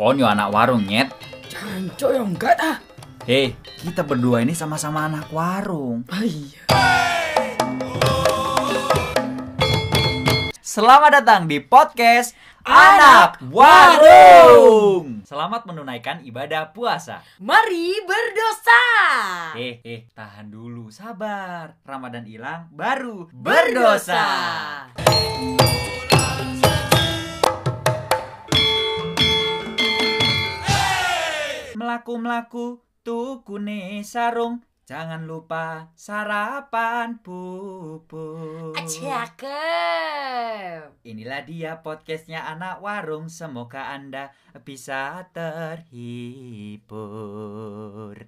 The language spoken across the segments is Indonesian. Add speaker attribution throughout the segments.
Speaker 1: Oon yo anak warung nyet.
Speaker 2: Jancok ya enggak ah.
Speaker 1: Hei, kita berdua ini sama-sama anak warung.
Speaker 2: Ah iya.
Speaker 1: Selamat datang di podcast
Speaker 2: Anak
Speaker 1: Warung. Selamat menunaikan ibadah puasa.
Speaker 2: Mari berdosa.
Speaker 1: Eh, eh, tahan dulu, sabar. Ramadan hilang, baru berdosa. Melaku-melaku tukune sarung Jangan lupa sarapan pupuk
Speaker 2: Cakep.
Speaker 1: Inilah dia podcastnya anak warung Semoga anda bisa terhibur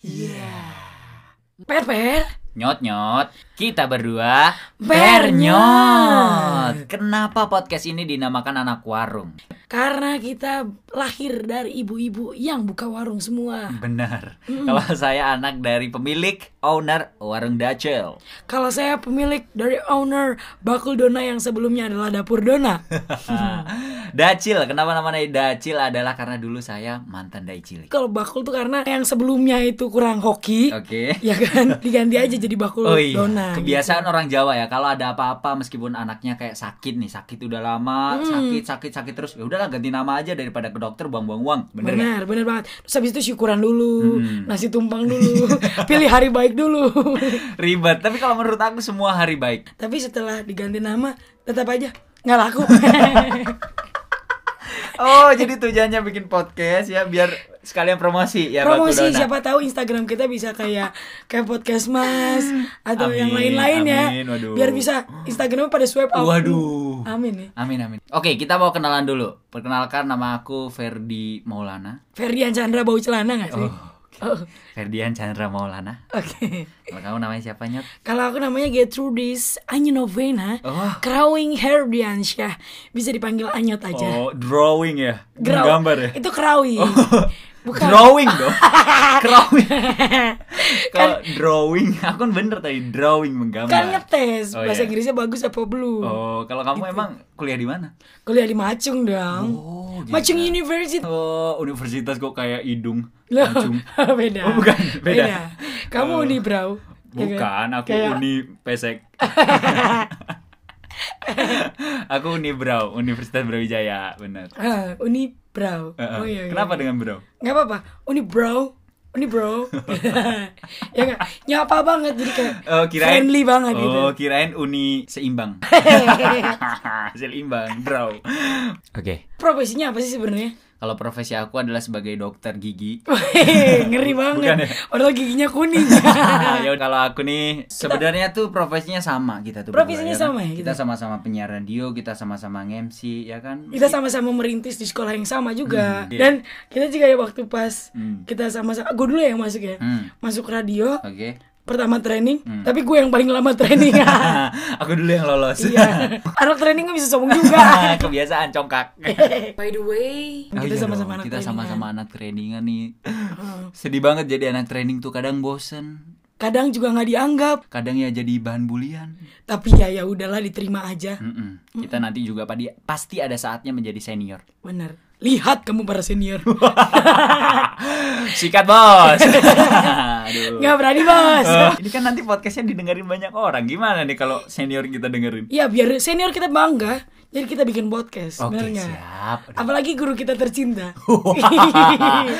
Speaker 2: Per per.
Speaker 1: Nyot-nyot, kita berdua
Speaker 2: Bernyot.
Speaker 1: Kenapa podcast ini dinamakan anak warung?
Speaker 2: Karena kita lahir dari ibu-ibu yang buka warung semua.
Speaker 1: Benar, kalau saya anak dari pemilik owner warung Dacel
Speaker 2: Kalau saya pemilik dari owner Bakul Dona yang sebelumnya adalah Dapur Dona.
Speaker 1: Ah. Dacil, kenapa namanya Dacil adalah karena dulu saya mantan dai cilik.
Speaker 2: Kalau bakul tuh karena yang sebelumnya itu kurang hoki.
Speaker 1: Oke.
Speaker 2: Ya kan? Diganti aja jadi Bakul
Speaker 1: Oh iya,
Speaker 2: Dona.
Speaker 1: kebiasaan orang Jawa ya kalau ada apa-apa meskipun anaknya kayak sakit nih, sakit udah lama, sakit sakit sakit terus ya udahlah ganti nama aja daripada ke dokter buang-buang uang. Bener nggak? Hmm.
Speaker 2: Benar, benar banget. Terus habis itu syukuran dulu, nasi tumpang dulu, pilih hari baik dulu.
Speaker 1: Ribet. Tapi kalau menurut aku semua hari baik.
Speaker 2: Tapi setelah diganti nama, tetap aja nggak laku.
Speaker 1: Oh, jadi tujuannya bikin podcast ya biar sekalian promosi ya Batu
Speaker 2: Promosi
Speaker 1: Dona.
Speaker 2: siapa tahu Instagram kita bisa kayak kayak podcast Mas atau
Speaker 1: Amin,
Speaker 2: yang lain-lain ya.
Speaker 1: amin, waduh.
Speaker 2: Biar bisa Instagram pada swipe up.
Speaker 1: Waduh.
Speaker 2: Amin ya.
Speaker 1: Amin amin. Oke, kita mau kenalan dulu. Perkenalkan nama aku Ferdi Maulana.
Speaker 2: Ferdian Chandra bau celana nggak sih? Oh, Oke.
Speaker 1: Ferdian Chandra Maulana. Kalau kamu namanya siapa Nyot?
Speaker 2: Kalau aku namanya Gertrudis Anyinovena
Speaker 1: Oh.
Speaker 2: Crowing Herdiansyah Bisa dipanggil Anyot aja
Speaker 1: Oh, drawing ya.
Speaker 2: Grow-
Speaker 1: Gambar ya.
Speaker 2: Itu crowing Bukan
Speaker 1: Drawing dong. drawing. Kalau drawing, aku kan bener tadi drawing menggambar.
Speaker 2: Kan ngetes
Speaker 1: Oh,
Speaker 2: Bahasa
Speaker 1: iya.
Speaker 2: Inggrisnya bagus apa belum
Speaker 1: Oh, kalau kamu
Speaker 2: Gitu.
Speaker 1: emang kuliah di mana?
Speaker 2: Kuliah di Macung dong
Speaker 1: Oh, gitu.
Speaker 2: Macung University
Speaker 1: Oh, universitas kok kayak hidung.
Speaker 2: Loh,
Speaker 1: Langsung.
Speaker 2: beda.
Speaker 1: Oh, bukan. Beda.
Speaker 2: Kamu
Speaker 1: Oh.
Speaker 2: Uni Brau. ya
Speaker 1: Bukan, aku
Speaker 2: Kayak-
Speaker 1: Uni E Pesek. aku Uni Brau, Universitas Brawijaya, benar.
Speaker 2: Ah, Uni Brau.
Speaker 1: Heeh.
Speaker 2: Oh iya. iya.
Speaker 1: Eh, Kenapa dengan Brau?
Speaker 2: Nggak apa-apa. Uni Brau. Uni Bro. ya nggak? Nyapa banget jadi kayak
Speaker 1: Oh, kirain
Speaker 2: friendly banget gitu.
Speaker 1: Oh, kirain Uni seimbang. seimbang, Brau. Oke.
Speaker 2: Profesinya apa sih sebenarnya?
Speaker 1: Kalau profesi aku adalah sebagai dokter gigi.
Speaker 2: Weh, Ngeri banget.
Speaker 1: Bukan ya?
Speaker 2: Padahal giginya kuning.
Speaker 1: ya udah, kalau aku nih sebenarnya tuh profesinya sama kita tuh. berdua,
Speaker 2: Profesinya
Speaker 1: ya kan?
Speaker 2: sama ya,
Speaker 1: Kita
Speaker 2: gitu.
Speaker 1: sama-sama penyiar radio, kita sama-sama MC ya kan.
Speaker 2: kita sama-sama merintis di sekolah yang sama juga.
Speaker 1: Hmm, iya.
Speaker 2: Dan kita juga ya waktu pas
Speaker 1: Hmm.
Speaker 2: kita sama-sama gue dulu ya yang masuk ya.
Speaker 1: Hmm.
Speaker 2: Masuk radio
Speaker 1: Oke.
Speaker 2: pertama training, tapi gue yang paling lama training.
Speaker 1: aku dulu yang lolos.
Speaker 2: Iya. Anak training kan bisa sombong juga.
Speaker 1: Kebiasaan congkak.
Speaker 2: By the way,
Speaker 1: Oh
Speaker 2: kita
Speaker 1: iya
Speaker 2: sama-sama anak
Speaker 1: dong,
Speaker 2: training. kan?
Speaker 1: kita
Speaker 2: Hmm.
Speaker 1: sama-sama anak trainingan nih. Sedih banget jadi anak training tuh kadang bosen,
Speaker 2: Kadang juga nggak dianggap,
Speaker 1: kadang ya jadi bahan bulian.
Speaker 2: tapi ya ya udahlah diterima aja.
Speaker 1: Mm-mm. Kita nanti juga padi- pasti ada saatnya menjadi senior.
Speaker 2: Bener. Lihat kamu para senior.
Speaker 1: Sikat bos. Aduh.
Speaker 2: Nggak berani bos.
Speaker 1: Eh, ini kan nanti podcastnya didengerin banyak orang. Gimana nih kalau senior kita dengerin?
Speaker 2: Ya biar senior kita bangga. Jadi kita bikin podcast.
Speaker 1: Oke
Speaker 2: bener nggak?
Speaker 1: siap. Aduh.
Speaker 2: Apalagi guru kita tercinta.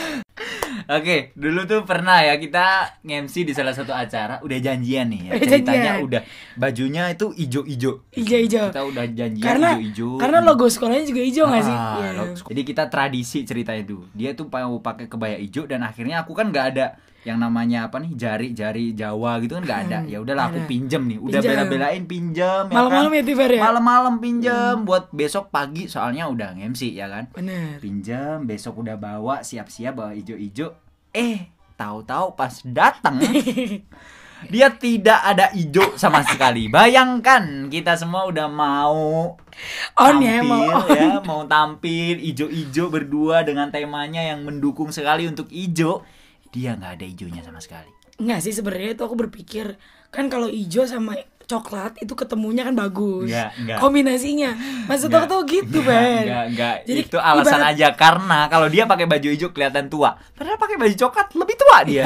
Speaker 1: Oke, dulu tuh pernah ya kita nge-MC di salah satu acara, udah janjian nih ya.
Speaker 2: Udah
Speaker 1: Ceritanya
Speaker 2: janjian.
Speaker 1: udah bajunya itu ijo-ijo.
Speaker 2: Ijo-ijo.
Speaker 1: Kita udah janjian
Speaker 2: karena
Speaker 1: ijo-ijo.
Speaker 2: karena logo sekolahnya juga hijau nggak sih?
Speaker 1: Iya, Ah,
Speaker 2: Iya.
Speaker 1: lo- Jadi kita tradisi ceritanya itu. Dia tuh mau pakai kebaya ijo dan akhirnya aku kan nggak ada yang namanya apa nih jari-jari Jawa gitu kan nggak ada. Ya udahlah aku
Speaker 2: Hmm, ada.
Speaker 1: pinjem nih. Udah
Speaker 2: Pinjem.
Speaker 1: bela-belain pinjem ya
Speaker 2: Malam-malam
Speaker 1: kan?
Speaker 2: ya, Tiver, ya? Hmm.
Speaker 1: Malam-malam pinjem buat besok pagi soalnya udah MC ya kan.
Speaker 2: Bener.
Speaker 1: Pinjem besok udah bawa siap-siap bawa ijo-ijo. Eh, tahu-tahu pas datang Iya. dia tidak ada ijo sama sekali. Bayangkan kita semua udah mau
Speaker 2: On
Speaker 1: tampil,
Speaker 2: ya mau on.
Speaker 1: ya, mau tampil ijo-ijo berdua dengan temanya yang mendukung sekali untuk ijo. Dia nggak ada ijonya sama sekali.
Speaker 2: Nggak sih sebenarnya itu aku berpikir kan kalau hijau sama coklat itu ketemunya kan bagus.
Speaker 1: Nggak, Iya, nggak.
Speaker 2: Kombinasinya. Maksud aku
Speaker 1: Nggak,
Speaker 2: tuh gitu,
Speaker 1: nggak,
Speaker 2: Ben.
Speaker 1: nggak, nggak.
Speaker 2: Jadi
Speaker 1: itu alasan
Speaker 2: ibarat-
Speaker 1: aja karena kalau dia pakai baju hijau kelihatan tua, padahal pakai baju coklat lebih tua dia.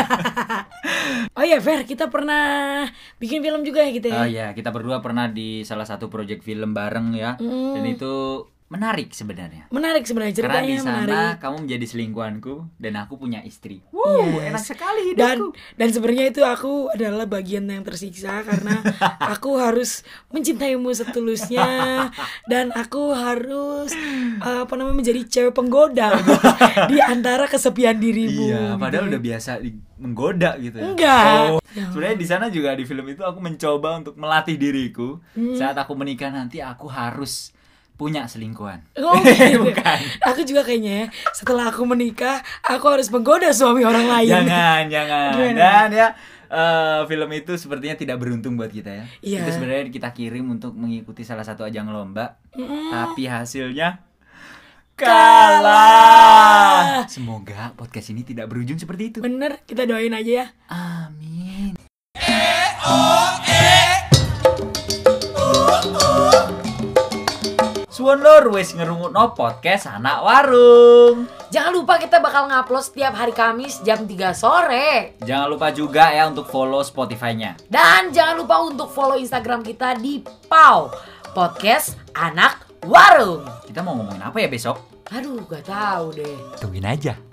Speaker 2: Oh iya, Fer, kita pernah bikin film juga ya gitu ya.
Speaker 1: Oh ya, kita berdua pernah di salah satu project film bareng ya. Dan itu menarik sebenarnya.
Speaker 2: Menarik sebenarnya Mm.
Speaker 1: Karena
Speaker 2: ceritanya
Speaker 1: di sana
Speaker 2: menarik.
Speaker 1: kamu menjadi selingkuhanku dan aku punya istri. Wow,
Speaker 2: Yes.
Speaker 1: enak sekali
Speaker 2: Dan
Speaker 1: hidupku.
Speaker 2: dan sebenarnya itu aku adalah bagian yang tersiksa karena aku harus mencintaimu setulusnya dan aku harus eh, apa namanya menjadi cewek penggoda gitu, di antara kesepian dirimu.
Speaker 1: Iya,
Speaker 2: gitu.
Speaker 1: padahal udah biasa di- menggoda gitu ya.
Speaker 2: Enggak.
Speaker 1: Oh.
Speaker 2: Ya.
Speaker 1: Sebenarnya di sana juga di film itu aku mencoba untuk melatih diriku.
Speaker 2: Hmm.
Speaker 1: Saat aku menikah nanti aku harus punya selingkuhan.
Speaker 2: Oh, gitu.
Speaker 1: Bukan.
Speaker 2: Aku juga kayaknya ya, setelah aku menikah, aku harus menggoda suami orang lain.
Speaker 1: Jangan,
Speaker 2: Iya.
Speaker 1: jangan.
Speaker 2: Gimana?
Speaker 1: Dan ya eh, film itu sepertinya tidak beruntung buat kita ya.
Speaker 2: Iya.
Speaker 1: Itu sebenarnya kita kirim untuk mengikuti salah satu ajang lomba,
Speaker 2: Hmm.
Speaker 1: tapi hasilnya
Speaker 2: Kalah.
Speaker 1: kalah. Semoga podcast ini tidak berujung seperti itu.
Speaker 2: Bener, kita doain aja ya.
Speaker 1: Amin. Suwon lor wis ngerungokno podcast anak warung.
Speaker 3: Jangan lupa kita bakal ngupload setiap hari Kamis jam 3 sore.
Speaker 1: Jangan lupa juga ya untuk follow Spotify-nya.
Speaker 3: Dan jangan lupa untuk follow Instagram kita di PAU Podcast Anak Warung.
Speaker 1: Kita mau ngomongin apa ya besok?
Speaker 3: Aduh, gak tahu deh.
Speaker 1: Tungguin aja.